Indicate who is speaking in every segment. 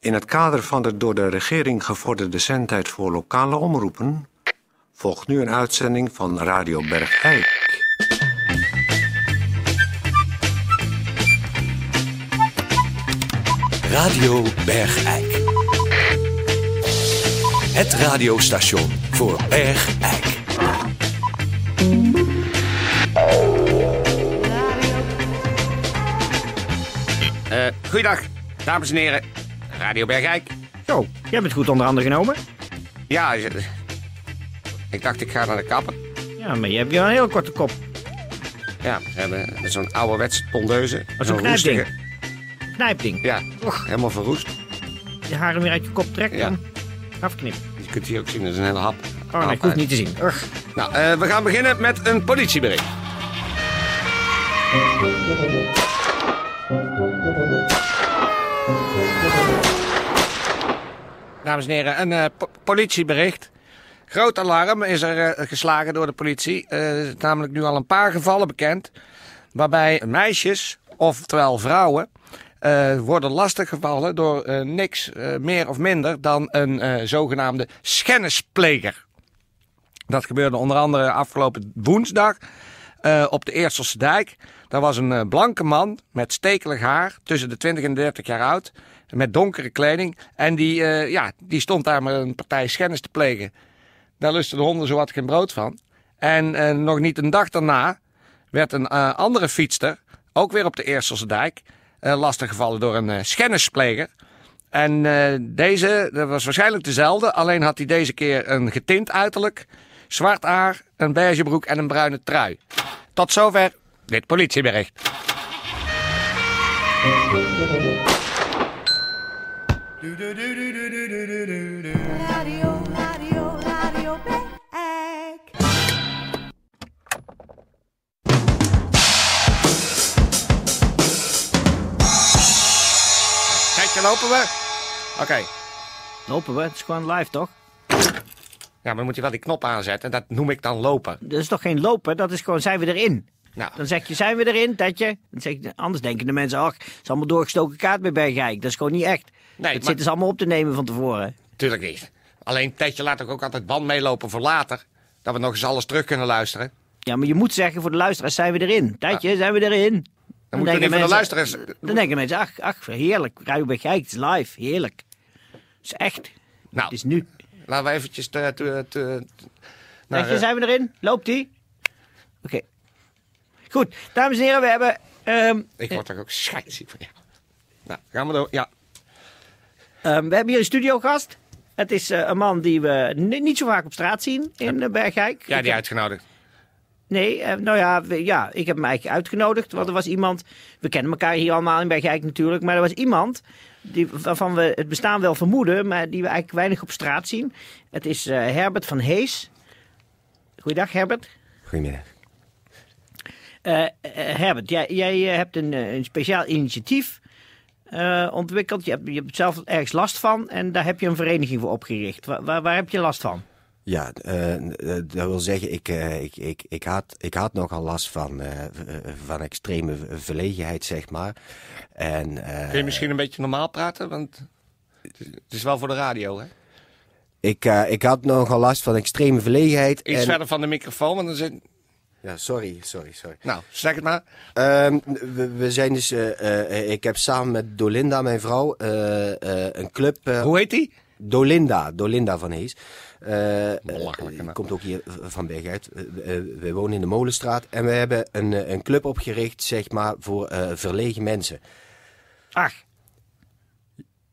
Speaker 1: In het kader van de door de regering gevorderde zendtijd voor lokale omroepen volgt nu een uitzending van Radio Bergijk.
Speaker 2: Radio Bergijk. Het radiostation voor Bergijk.
Speaker 3: Eh, goeiedag, dames en heren. Radio Bergijk.
Speaker 4: Zo, jij bent goed onder handen genomen.
Speaker 3: Ja, is het- ik dacht ik ga naar de kapper.
Speaker 4: Ja, maar je hebt wel een heel korte kop.
Speaker 3: Ja, we hebben zo'n ouderwets tondeuze.
Speaker 4: Als een
Speaker 3: zo'n
Speaker 4: knijpding.
Speaker 3: roestige.
Speaker 4: Knijpding.
Speaker 3: Ja,
Speaker 4: Och.
Speaker 3: helemaal verroest.
Speaker 4: Je haren weer uit je kop trekken
Speaker 3: Ja.
Speaker 4: en afknippen.
Speaker 3: Je kunt hier ook zien, dat is een hele hap.
Speaker 4: Oh,
Speaker 3: hap
Speaker 4: nee, ik hoef
Speaker 3: uit.
Speaker 4: niet te zien. Urg.
Speaker 3: Nou, eh, we gaan beginnen met een politiebericht. Dames en heren, een eh, po- politiebericht. Groot alarm is er eh, geslagen door de politie. Eh, Er zijn namelijk nu al een paar gevallen bekend. Waarbij meisjes, oftewel vrouwen, eh, worden lastiggevallen door eh, niks eh, meer of minder dan een eh, zogenaamde schennispleger. Dat gebeurde onder andere afgelopen woensdag eh, op de Eerselse dijk. Daar was een eh, blanke man met stekelig haar, tussen de 20 en 30 jaar oud, met donkere kleding. En die, eh, ja, die stond daar met een partij schennis te plegen. Daar lusten de honden zowat geen brood van. En eh, nog niet een dag daarna werd een eh, andere fietster, ook weer op de Eerselse dijk, eh, lastiggevallen door een eh, schennispleger. En eh, deze, dat was waarschijnlijk dezelfde, alleen had hij deze keer een getint uiterlijk, zwart haar, een beige broek en een bruine trui. Tot zover dit politiebericht.
Speaker 5: Radio, radio, radio back.
Speaker 3: Kijk, daar lopen we. Oké,
Speaker 4: Lopen we, het is gewoon live toch?
Speaker 3: ja, maar nou, dan moet je wel die knop aanzetten. Dat noem ik dan lopen.
Speaker 4: Dat is toch geen lopen, dat is gewoon zijn we erin.
Speaker 3: Nou,
Speaker 4: Dan zeg je zijn we erin, dat je. Dan zeg je anders denken de mensen, ach, het is allemaal doorgestoken kaart bij Bergijk. Dat is gewoon niet echt.
Speaker 3: maar-
Speaker 4: het zitten ze allemaal op te nemen van tevoren.
Speaker 3: natuurlijk niet. Alleen Tedje laat toch ook altijd band meelopen voor later. Dat we nog eens alles terug kunnen luisteren.
Speaker 4: Ja, maar je moet zeggen voor de luisteraars zijn we erin. Tijdje, zijn we erin. Dan,
Speaker 3: moeten we
Speaker 4: denken
Speaker 3: niet voor de
Speaker 4: mensen-
Speaker 3: luisteraars-
Speaker 4: Dan denken mensen, ach, ach, heerlijk. Radio Bergijk, het is live, heerlijk. Het is echt.
Speaker 3: Nou,
Speaker 4: Het is nu.
Speaker 3: laten we eventjes... Te, te, te- naar,
Speaker 4: Weet je,
Speaker 3: eh,
Speaker 4: zijn we erin? Loopt die? Oké. Goed, dames en heren, we hebben... ehm,
Speaker 3: ik word er ook scheidsziek van. Ja. Nou, gaan we door. Ja,
Speaker 4: ehm, we hebben hier een studiogast. Het is eh, een man die we ni- niet zo vaak op straat zien in eh, Bergijk.
Speaker 3: jij
Speaker 4: Ik
Speaker 3: die
Speaker 4: heb-
Speaker 3: uitgenodigd.
Speaker 4: Nee, eh, nou ja, we- ja, ik heb hem eigenlijk uitgenodigd. Want er was iemand, we kennen elkaar hier allemaal in Bergijk natuurlijk. Maar er was iemand die, waarvan we het bestaan wel vermoeden, maar die we eigenlijk weinig op straat zien. Het is eh, Herbert van Hees. Goeiedag Herbert.
Speaker 3: Goedemiddag.
Speaker 4: Eh, eh, Herbert, jij, jij eh, hebt een, eh, een speciaal initiatief eh, ontwikkeld. Je hebt, je hebt zelf ergens last van en daar heb je een vereniging voor opgericht. Wa- waar, waar heb je last van?
Speaker 6: Ja, eh, eh, dat wil zeggen, ik, eh, ik, ik, ik, had, ik had nogal last van, eh, v- eh, van extreme v- verlegenheid, zeg maar. En, eh,
Speaker 3: Kun je misschien een beetje normaal praten? Want het is- het is wel voor de radio, hè?
Speaker 6: ik, eh, ik had nogal last van extreme verlegenheid.
Speaker 3: Iets
Speaker 6: en-
Speaker 3: verder van de microfoon, want dan zit...
Speaker 6: Ja, sorry, sorry, sorry.
Speaker 3: Nou, zeg het maar.
Speaker 6: Ehm, we, we zijn dus, eh, eh, ik heb samen met Dolinda, mijn vrouw, eh, eh, een club. eh,
Speaker 3: Hoe heet die?
Speaker 6: Dolinda, Dolinda van Hees. Eh,
Speaker 3: Belachelijke
Speaker 6: eh,
Speaker 3: naam.
Speaker 6: komt ook hier v- van Berg uit. Eh, eh, we wonen in de Molenstraat en we hebben een, eh, een club opgericht, zeg maar, voor eh, verlegen mensen.
Speaker 4: Ach,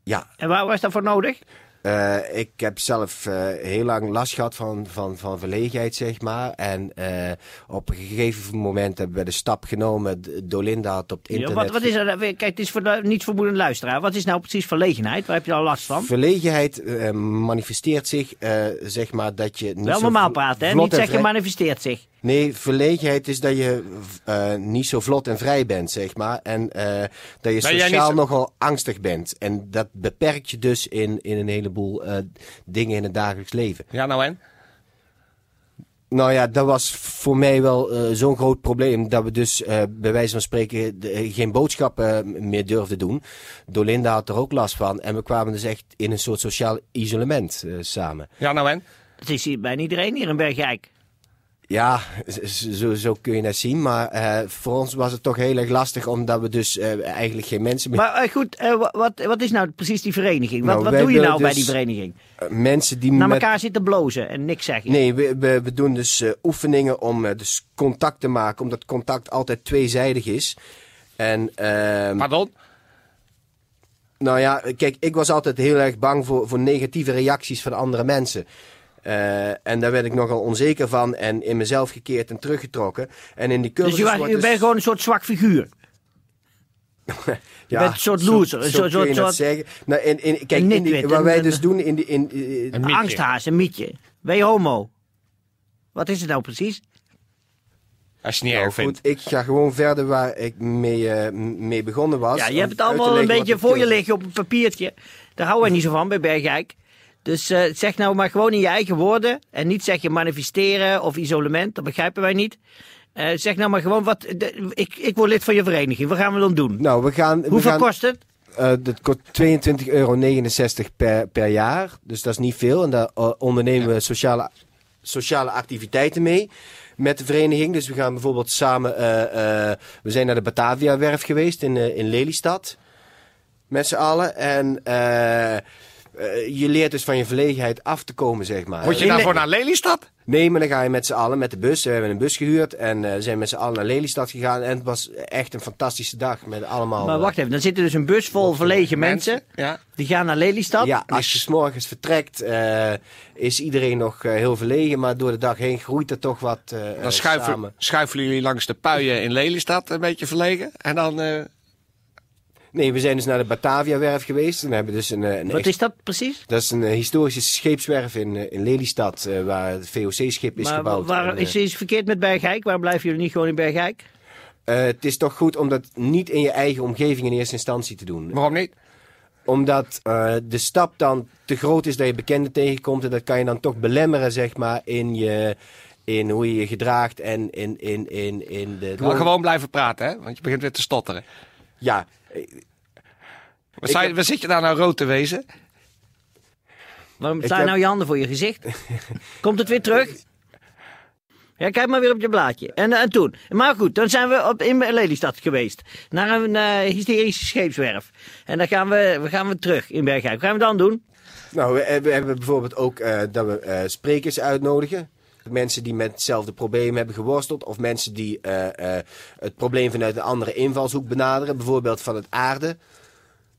Speaker 6: Ja,
Speaker 4: en waar was dat voor nodig?
Speaker 6: eh, ik heb zelf eh, heel lang last gehad van, van, van verlegenheid, zeg maar. En eh, op een gegeven moment hebben we de stap genomen. D- Dolinda had op het
Speaker 4: Ja,
Speaker 6: internet...
Speaker 4: wat, wat is er? Kijk, het is voor de niet vermoedende luisteraar. Wat is nou precies verlegenheid? Waar heb je nou last van?
Speaker 6: Verlegenheid eh, manifesteert zich, eh, zeg maar, dat je... Niet
Speaker 4: Wel
Speaker 6: zo
Speaker 4: normaal
Speaker 6: vl-
Speaker 4: praten, hè?
Speaker 6: vlot
Speaker 4: Niet
Speaker 6: en
Speaker 4: zeggen
Speaker 6: vrij-
Speaker 4: manifesteert zich.
Speaker 6: Nee, verlegenheid is dat je eh, niet zo vlot en vrij bent, zeg maar. En eh, dat
Speaker 3: jij
Speaker 6: je
Speaker 3: Nou niet
Speaker 6: sociaal
Speaker 3: zo-
Speaker 6: nogal angstig bent. En dat beperkt je dus in, in een heleboel eh, dingen in het dagelijks leven.
Speaker 3: Ja, nou en?
Speaker 6: Nou ja, dat was voor mij wel eh, zo'n groot probleem dat we dus eh, bij wijze van spreken de- eh, geen boodschappen eh, meer durfden doen. Dolinda had er ook last van en we kwamen dus echt in een soort sociaal isolement eh, samen.
Speaker 3: Ja, nou en?
Speaker 4: Het is hier bijna iedereen hier in Bergijk.
Speaker 6: Ja, z- z- zo, zo kun je dat zien, maar eh, voor ons was het toch heel erg lastig omdat we dus eh, eigenlijk geen mensen meer...
Speaker 4: Maar eh, goed, eh, wa- wat, wat is nou precies die vereniging? Wat,
Speaker 6: Nou,
Speaker 4: wat
Speaker 6: wij
Speaker 4: doe je
Speaker 6: willen
Speaker 4: nou bij
Speaker 6: dus
Speaker 4: die vereniging?
Speaker 6: mensen die
Speaker 4: Naar
Speaker 6: met...
Speaker 4: elkaar zitten blozen en niks zeggen.
Speaker 6: Nee, we, we, we doen dus eh, oefeningen om eh, dus contact te maken, omdat contact altijd tweezijdig is. En, ehm,
Speaker 3: Pardon?
Speaker 6: Nou ja, kijk, ik was altijd heel erg bang voor, voor negatieve reacties van andere mensen. Eh, en daar werd ik nogal onzeker van en in mezelf gekeerd en teruggetrokken. En in die cursus
Speaker 4: dus je, was,
Speaker 6: wordt
Speaker 4: je bent gewoon een soort zwak figuur.
Speaker 6: ja,
Speaker 4: bent een soort loser,
Speaker 6: Zo,
Speaker 4: een
Speaker 6: zo,
Speaker 4: soort-
Speaker 6: kun je
Speaker 4: soort-
Speaker 6: dat zeggen. Nou, in, in, kijk,
Speaker 4: Een
Speaker 6: in die,
Speaker 4: nitwit,
Speaker 6: wat
Speaker 4: een-
Speaker 6: wij
Speaker 4: een-
Speaker 6: dus doen in die... In, eh,
Speaker 4: Een angsthaas, een mietje. Ben je homo? Wat is het nou precies?
Speaker 3: Als je het niet
Speaker 6: nou,
Speaker 3: erg
Speaker 6: goed,
Speaker 3: vindt.
Speaker 6: ik ga gewoon verder waar ik mee, eh, m- mee begonnen was.
Speaker 4: Ja, je
Speaker 6: om
Speaker 4: hebt het
Speaker 6: uit te
Speaker 4: allemaal een
Speaker 6: leggen wat eh,
Speaker 4: beetje
Speaker 6: de
Speaker 4: voor je
Speaker 6: cursus-
Speaker 4: liggen op een papiertje. Daar houden wij niet zo van bij Bergijk. Dus eh, zeg nou maar gewoon in je eigen woorden. En niet zeg je manifesteren of isolement. Dat begrijpen wij niet. Eh, zeg nou maar gewoon wat. de- ik, ik word lid van je vereniging. Wat gaan we dan doen?
Speaker 6: Nou, we gaan... we
Speaker 4: Hoeveel
Speaker 6: gaan,
Speaker 4: kost het?
Speaker 6: eh dat kost 22,69 euro per, per jaar. Dus dat is niet veel. En daar eh, ondernemen we sociale, sociale activiteiten mee. Met de vereniging. Dus we gaan bijvoorbeeld samen. eh, eh, we zijn naar de Batavia-werf geweest in, eh, in Lelystad. Met z'n allen. En eh, eh, je leert dus van je verlegenheid af te komen, zeg maar.
Speaker 3: Moet je daarvoor naar Lelystad?
Speaker 6: Nee, maar dan ga je met z'n allen met de bus. We hebben een bus gehuurd. En eh, zijn met z'n allen naar Lelystad gegaan. En het was echt een fantastische dag. Met allemaal. eh,
Speaker 4: Maar wacht even, dan zit er dus een bus vol verlegen mensen.
Speaker 3: Ja.
Speaker 4: Die gaan naar Lelystad.
Speaker 6: Ja, als je s'morgens vertrekt, eh, is iedereen nog eh, heel verlegen. Maar door de dag heen groeit er toch wat eh, eh,
Speaker 3: Dan schuiven,
Speaker 6: samen.
Speaker 3: schuiven jullie langs de puien in Lelystad een beetje verlegen. En dan... eh,
Speaker 6: Nee, we zijn dus naar de Batavia-werf geweest. En we hebben dus een, eh, een
Speaker 4: Wat
Speaker 6: echt-
Speaker 4: is dat precies?
Speaker 6: dat is een eh, historische scheepswerf in, eh, in Lelystad, eh, waar het VOC-schip is
Speaker 4: Maar wa-
Speaker 6: gebouwd.
Speaker 4: waar
Speaker 6: En,
Speaker 4: is,
Speaker 6: eh,
Speaker 4: is verkeerd met Bergijk? Waarom blijven jullie niet gewoon in Bergijk?
Speaker 6: eh, het is toch goed om dat niet in je eigen omgeving in eerste instantie te doen.
Speaker 3: waarom niet?
Speaker 6: Omdat eh, de stap dan te groot is dat je bekenden tegenkomt. En dat kan je dan toch belemmeren, zeg maar, in, je, in hoe je je gedraagt en in, in, in, in de...
Speaker 3: Maar gewoon blijven praten, hè? Want je begint weer te stotteren.
Speaker 6: Ja, eh,
Speaker 3: Wat, zei- wat zit je daar nou rood te wezen?
Speaker 4: Waarom
Speaker 6: Ik
Speaker 4: sla je
Speaker 6: heb-
Speaker 4: nou je handen voor je gezicht? Komt het weer terug? Ja, kijk maar weer op je blaadje. En, eh, en toen. Maar goed, dan zijn we op, in Lelystad geweest. Naar een eh, hysterische scheepswerf. En dan gaan we, we gaan we terug in Bergijk. Wat gaan we dan doen?
Speaker 6: Nou, we, we hebben bijvoorbeeld ook eh, dat we eh, sprekers uitnodigen. Mensen die met hetzelfde probleem hebben geworsteld. Of mensen die eh, eh, het probleem vanuit een andere invalshoek benaderen. Bijvoorbeeld van het aarde.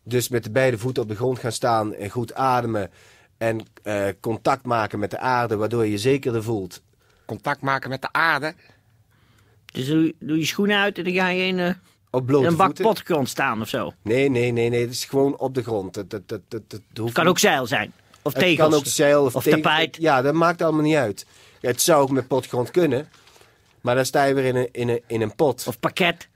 Speaker 6: Dus met de beide voeten op de grond gaan staan en goed ademen. En eh, contact maken met de aarde, waardoor je je zekerder voelt.
Speaker 3: Contact maken met de aarde.
Speaker 4: Dus doe, doe je schoenen uit en dan ga je in, eh,
Speaker 6: Op
Speaker 4: in
Speaker 6: blote
Speaker 4: een bak
Speaker 6: voeten.
Speaker 4: potgrond staan of zo.
Speaker 6: Nee, nee, nee, nee. Het is gewoon op de grond. Het, het, het, het, het hoeft
Speaker 4: Het kan
Speaker 6: niet-
Speaker 4: ook zeil zijn. Of
Speaker 6: Het
Speaker 4: tegels.
Speaker 6: kan ook zeil of,
Speaker 4: Of
Speaker 6: tegel-
Speaker 4: tapijt.
Speaker 6: Ja, dat maakt allemaal niet uit. Het zou ook met potgrond kunnen. Maar dan sta je weer in een, in een, in een pot.
Speaker 4: Of pakket.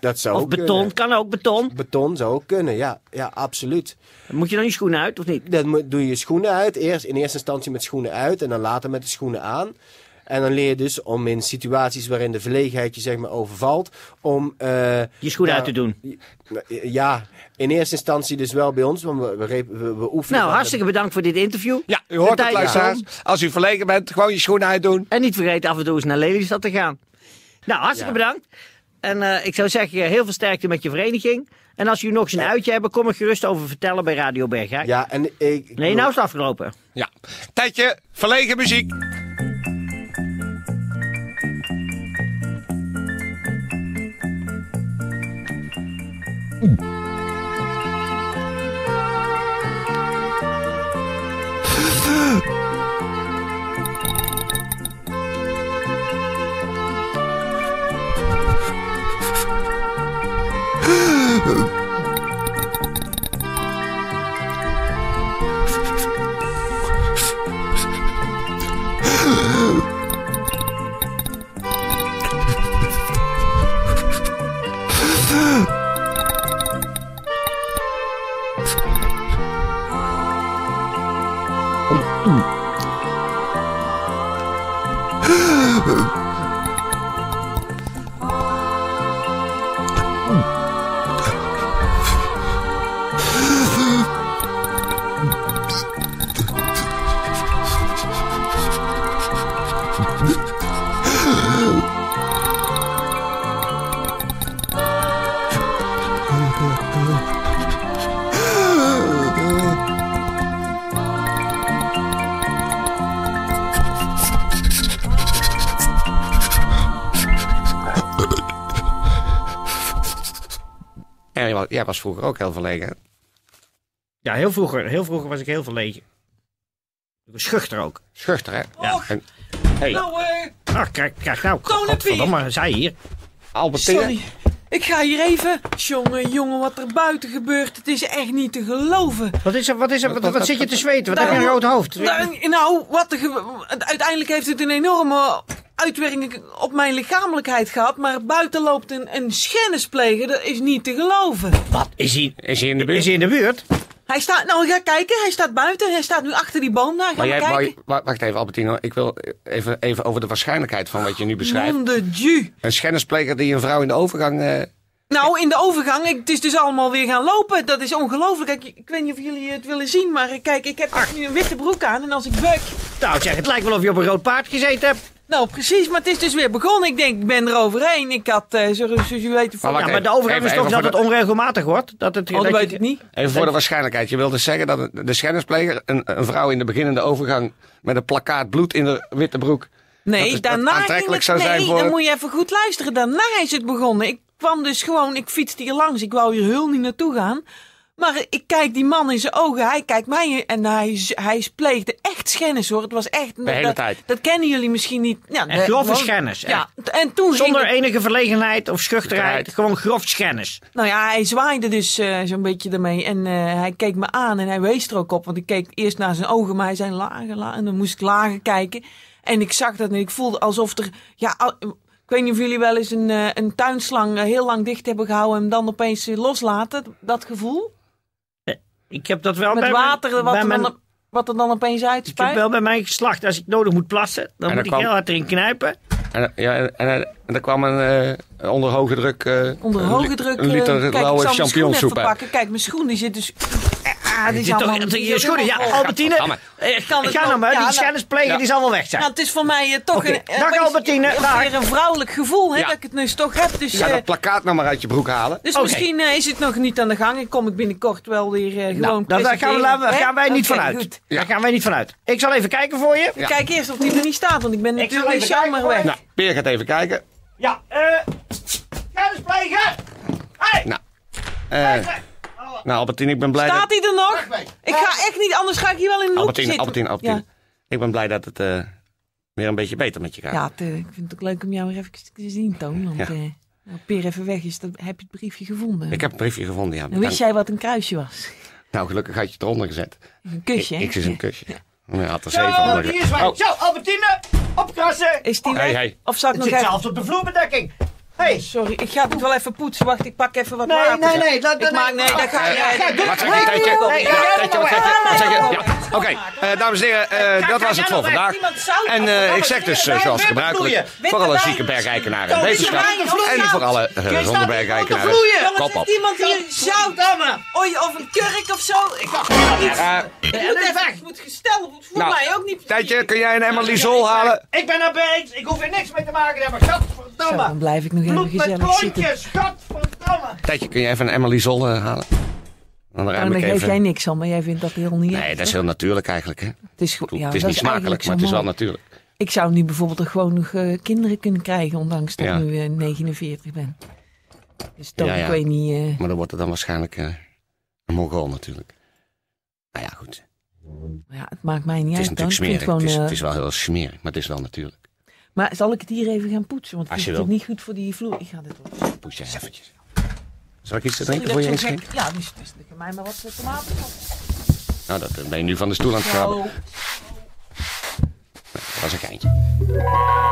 Speaker 6: dat zou
Speaker 4: Of
Speaker 6: ook eh,
Speaker 4: beton.
Speaker 6: kunnen.
Speaker 4: Kan ook beton.
Speaker 6: Beton zou ook kunnen, ja. Ja, absoluut.
Speaker 4: Moet je dan je schoenen uit of niet?
Speaker 6: Dan moet- doe je je schoenen uit. Eerst, in eerste instantie met schoenen uit en dan later met de schoenen aan. En dan leer je dus om in situaties waarin de verlegenheid je zeg maar overvalt, om... eh,
Speaker 4: Je schoenen
Speaker 6: ja,
Speaker 4: uit te doen.
Speaker 6: Ja, in eerste instantie dus wel bij ons, want we, we, rep- we, we oefenen...
Speaker 4: Nou,
Speaker 6: dan-
Speaker 4: hartstikke bedankt voor dit interview.
Speaker 3: Ja, u
Speaker 4: De
Speaker 3: hoort het,
Speaker 4: tijd is om.
Speaker 3: luisteraars. Als u verlegen bent, gewoon je schoenen uitdoen.
Speaker 4: En niet vergeten af en toe eens naar Lelystad te gaan. Nou, hartstikke
Speaker 6: Ja.
Speaker 4: bedankt. En eh, ik zou zeggen, heel veel sterkte met je vereniging. En als jullie nog eens een uitje hebben, kom er gerust over vertellen bij Radio Bergijk.
Speaker 6: Ja, en ik...
Speaker 4: Nee, nou is het afgelopen.
Speaker 3: Ja. Tijdje, verlegen muziek.
Speaker 5: radio,
Speaker 3: En jij was, jij was vroeger ook heel verlegen. hè?
Speaker 4: Ja, heel vroeger, heel vroeger was ik heel verlegen. Ik was schuchter ook.
Speaker 3: Schuchter, hè?
Speaker 4: Ja.
Speaker 3: En
Speaker 4: Hey. Nou, Ach, kijk, kijk nou.
Speaker 7: Toon het weer.
Speaker 4: Godverdomme, zij hier.
Speaker 3: Albertine.
Speaker 7: Sorry. Ik ga hier even. Jongen, jongen, wat er buiten gebeurt. Het is echt niet te geloven.
Speaker 4: Wat is er, wat is er, wat, wat zit je te zweten? Wat heb je een
Speaker 7: Daarom-
Speaker 4: rood hoofd?
Speaker 7: Nou, nou, wat er ge- uiteindelijk heeft het een enorme uitwerking op mijn lichamelijkheid gehad. Maar buiten loopt een, een schennispleger. Dat is niet te geloven.
Speaker 4: Wat is hij?
Speaker 3: Is hij in de buurt?
Speaker 4: Is hij in de buurt?
Speaker 7: Hij staat, nou ga kijken, hij staat buiten. Hij staat nu achter die boom daar. Ga
Speaker 3: Maar
Speaker 7: maar
Speaker 3: jij,
Speaker 7: kijken.
Speaker 3: maar- wa- wacht even, Albertino. Ik wil even, even over de waarschijnlijkheid van wat je nu beschrijft.
Speaker 7: Nom de Dieu.
Speaker 3: Een schennispleger die een vrouw in de overgang. eh,
Speaker 7: Nou, in de overgang, ik- het is dus allemaal weer gaan lopen. Dat is ongelooflijk. Kijk, Ik, weet niet of jullie het willen zien, maar eh, kijk, ik heb
Speaker 3: Ah.
Speaker 7: nu een witte broek aan. En als ik beuk...
Speaker 4: Nou, zeg, het lijkt wel of je op een rood paard gezeten hebt.
Speaker 7: Nou, precies, maar het is dus weer begonnen. Ik denk, ik ben er overheen. Ik had, eh, zo- zoals jullie weten... Van,
Speaker 3: Maar
Speaker 4: Ja,
Speaker 3: wacht
Speaker 7: ja,
Speaker 4: maar de overgang
Speaker 3: Even-
Speaker 4: is toch
Speaker 3: even
Speaker 4: dat
Speaker 3: voor
Speaker 4: het onregelmatig wordt? Dat het,
Speaker 7: oh,
Speaker 4: dat
Speaker 7: dat
Speaker 4: je-
Speaker 7: weet ik niet.
Speaker 3: even voor de waarschijnlijkheid. Je wilt dus zeggen dat de schennispleger een, een vrouw in de beginnende overgang. met een plakkaat bloed in de witte broek.
Speaker 7: Nee,
Speaker 3: Dat is- dat
Speaker 7: daarna
Speaker 3: aantrekkelijk
Speaker 7: ging het...
Speaker 3: zou zijn
Speaker 7: nee,
Speaker 3: voor
Speaker 7: dan
Speaker 3: het-
Speaker 7: moet je even goed luisteren. Daarna is het begonnen. Ik kwam dus gewoon, ik fietste hier langs. Ik wou hier heel niet naartoe gaan. Maar ik kijk die man in zijn ogen. Hij kijkt mij in- en hij, z- hij pleegde echt schennis hoor. Het was echt... De
Speaker 3: hele
Speaker 7: dat,
Speaker 3: tijd.
Speaker 7: Dat kennen jullie misschien niet. Ja,
Speaker 4: Echt
Speaker 7: de-
Speaker 4: grove
Speaker 7: gewoon-
Speaker 4: schennis,
Speaker 7: Ja, t- en toen ging
Speaker 4: Zonder
Speaker 7: het-
Speaker 4: enige verlegenheid of schuchterheid.
Speaker 3: Schuchterheid.
Speaker 4: Gewoon grof schennis.
Speaker 7: Nou ja, hij zwaaide dus eh, zo'n beetje ermee. En eh, hij keek me aan en hij wees er ook op. Want ik keek eerst naar zijn ogen, maar hij zei lager, lager. En dan moest ik lager kijken. En ik zag dat en ik voelde alsof er... Ja, al- ik weet niet of jullie wel eens een, eh, een tuinslang eh, heel lang dicht hebben gehouden... en hem dan opeens eh, loslaten, dat gevoel.
Speaker 4: Ik heb dat wel
Speaker 7: Met
Speaker 4: bij
Speaker 7: water,
Speaker 4: mijn,
Speaker 7: wat
Speaker 4: bij
Speaker 7: er,
Speaker 4: mijn-
Speaker 7: dan, wat er dan opeens
Speaker 4: ik heb
Speaker 7: uitspuit.
Speaker 4: wel bij mijn geslacht, als ik nodig moet plassen, dan
Speaker 3: dan
Speaker 4: moet ik
Speaker 3: kwam-
Speaker 4: heel hard erin knijpen.
Speaker 3: En, ja, en, en, en er kwam een eh, onder hoge druk. eh,
Speaker 7: Onder
Speaker 3: een
Speaker 7: hoge
Speaker 3: li-
Speaker 7: druk...
Speaker 3: Een
Speaker 7: eh,
Speaker 3: liter
Speaker 7: kijk, ik zal
Speaker 3: lauwe
Speaker 7: mijn schoen even
Speaker 3: champignonsoep. uit.
Speaker 7: pakken. Kijk, mijn schoen die zit dus... Ah, die
Speaker 4: Het
Speaker 7: is
Speaker 4: is toch,
Speaker 7: allemaal...
Speaker 4: het
Speaker 7: die
Speaker 4: is schoenen. Ja,
Speaker 7: helemaal vol.
Speaker 4: Albertine, eh,
Speaker 7: Kan het
Speaker 4: ga
Speaker 7: nog-
Speaker 4: nou maar.
Speaker 7: ja,
Speaker 4: die
Speaker 7: nou-
Speaker 4: schennisplegen die zal wel weg zijn.
Speaker 7: Nou, het is voor mij eh, toch
Speaker 4: Oké.
Speaker 7: een, eh,
Speaker 4: Dag,
Speaker 7: opeens-
Speaker 4: Albertine.
Speaker 7: eh,
Speaker 4: Dag.
Speaker 7: weer een vrouwelijk gevoel hè,
Speaker 3: Ja.
Speaker 7: dat ik het nu toch heb. Dus,
Speaker 3: Ja,
Speaker 7: eh,
Speaker 3: dat plakkaat nou maar uit je broek halen.
Speaker 7: dus
Speaker 4: Oké.
Speaker 7: misschien eh, is het nog niet aan de gang en kom ik binnenkort wel weer eh, gewoon
Speaker 4: Nou, daar- daar gaan, we,
Speaker 7: presenteren,
Speaker 4: daar
Speaker 7: hè?
Speaker 4: gaan wij niet
Speaker 7: Oké,
Speaker 4: vanuit.
Speaker 7: goed.
Speaker 3: Ja.
Speaker 4: Daar gaan wij niet vanuit. Ik zal even kijken voor je.
Speaker 3: Ja.
Speaker 7: Kijk eerst of die er niet staat, want ik ben
Speaker 4: zal
Speaker 7: natuurlijk
Speaker 4: even
Speaker 7: jammer
Speaker 4: kijken,
Speaker 7: weg.
Speaker 4: hoor.
Speaker 3: Nou, Peer gaat even kijken.
Speaker 4: Ja, eh. Kennisplegen! Hey!
Speaker 3: Nou, eh, nou Albertine, ik ben blij dat...
Speaker 7: staat hij er nog? Ik ga echt niet, anders ga ik hier wel in de hoek
Speaker 3: Albertine,
Speaker 7: zitten.
Speaker 3: Albertine, Albertine.
Speaker 7: Ja.
Speaker 3: Ik ben blij dat het eh, weer een beetje beter met je gaat.
Speaker 7: Ja, het, eh, ik vind het ook leuk om jou weer even te zien, Toon. Want
Speaker 3: Ja.
Speaker 7: eh, nou, Peer even weg is, dan heb je het briefje gevonden.
Speaker 3: Ik heb een briefje gevonden, ja.
Speaker 7: En wist
Speaker 3: bedankt.
Speaker 7: jij wat een kruisje was?
Speaker 3: Nou, gelukkig had je het eronder gezet.
Speaker 7: Een kusje, hè?
Speaker 3: Ik is een kusje. Ja, had er zeven
Speaker 4: Zo,
Speaker 3: onder
Speaker 4: die
Speaker 3: gezet.
Speaker 4: is waar.
Speaker 3: Oh,
Speaker 4: Zo, Albertine, opkrassen!
Speaker 7: Is die
Speaker 3: Hey,
Speaker 7: weg?
Speaker 3: hey.
Speaker 7: Of zal ik
Speaker 4: Het
Speaker 7: nog
Speaker 4: zit
Speaker 7: even...
Speaker 4: zelfs op de vloerbedekking. Hey.
Speaker 7: Sorry, ik ga het wel even poetsen. Wacht, ik pak even wat
Speaker 4: Nee,
Speaker 7: water.
Speaker 4: nee, nee, laat-
Speaker 7: ik maak, nee, dat ga ik.
Speaker 4: Ja, doe-
Speaker 3: Wat zeg je, Tijdje?
Speaker 4: hey,
Speaker 3: Ja,
Speaker 4: hey,
Speaker 3: Tijdje, wat
Speaker 4: hey,
Speaker 3: zeg je? Wat zeg
Speaker 7: hey,
Speaker 3: je? Ja, Oké, eh, dames en heren, eh, dat was het voor vandaag. En eh, ik zeg dus, eh, zoals gebruikelijk, voor alle zieke bergeikenaren en wetenschap. En voor alle eh, gezonde bergeikenaren.
Speaker 7: Jongens,
Speaker 3: Kop op.
Speaker 7: heeft iemand hier zout? Oei, of een kurk of zo? Ik ik moet
Speaker 3: Eh,
Speaker 7: even, het moet gestel, het voelt
Speaker 3: Nou,
Speaker 7: mij ook niet
Speaker 3: Tijdje, kun jij een Emma Lizol halen?
Speaker 4: Ik ben er eens. Ik hoef er niks mee te maken te hebben.
Speaker 7: Zo,
Speaker 4: Gadverdamme.
Speaker 7: dan blijf ik nog even
Speaker 4: Bloed met
Speaker 7: gezellig zitten.
Speaker 4: klontjes. Gadverdamme.
Speaker 3: Tijdje, kun jij even een Emily Zol eh, halen? Dan
Speaker 7: En
Speaker 3: ruim
Speaker 7: daar
Speaker 3: ik
Speaker 7: geef jij
Speaker 3: even.
Speaker 7: niks aan, Oh, maar jij vindt dat heel niet
Speaker 3: Nee,
Speaker 7: erg,
Speaker 3: dat is
Speaker 7: toch?
Speaker 3: heel natuurlijk eigenlijk. Hè?
Speaker 7: Het is, goed. ja,
Speaker 3: het is
Speaker 7: dat
Speaker 3: niet smakelijk,
Speaker 7: eigenlijk
Speaker 3: maar het is
Speaker 7: zo
Speaker 3: wel
Speaker 7: mooi.
Speaker 3: natuurlijk.
Speaker 7: Ik zou nu bijvoorbeeld ook gewoon nog eh, kinderen kunnen krijgen, ondanks dat
Speaker 3: Ja.
Speaker 7: ik nu eh, 49 ben. Dus dan,
Speaker 3: Ja, ja.
Speaker 7: ik weet niet... eh,
Speaker 3: Maar dan wordt het dan waarschijnlijk eh, een Mongool natuurlijk. Nou ja, goed.
Speaker 7: Maar Ja, het maakt mij niet
Speaker 3: Het is
Speaker 7: uit. dan.
Speaker 3: natuurlijk smerig.
Speaker 7: Ik vind het gewoon,
Speaker 3: Het is,
Speaker 7: eh,
Speaker 3: het is wel heel smerig, maar het is wel natuurlijk.
Speaker 7: Maar zal ik het hier even gaan poetsen? Want het
Speaker 3: Als
Speaker 7: is
Speaker 3: je
Speaker 7: natuurlijk niet goed voor die vloer. Ik ga dit wel.
Speaker 3: Poes jij eventjes. Zal ik iets te
Speaker 7: Sorry
Speaker 3: drinken
Speaker 7: dat
Speaker 3: voor je
Speaker 7: zo'n
Speaker 3: inschenk?
Speaker 7: gek- Ja, dus, dus ik mij maar wat eh, tomaten.
Speaker 3: Nou, dat eh, ben je nu van de stoel aan het krabben.
Speaker 7: Zo.
Speaker 3: Dat was een geintje.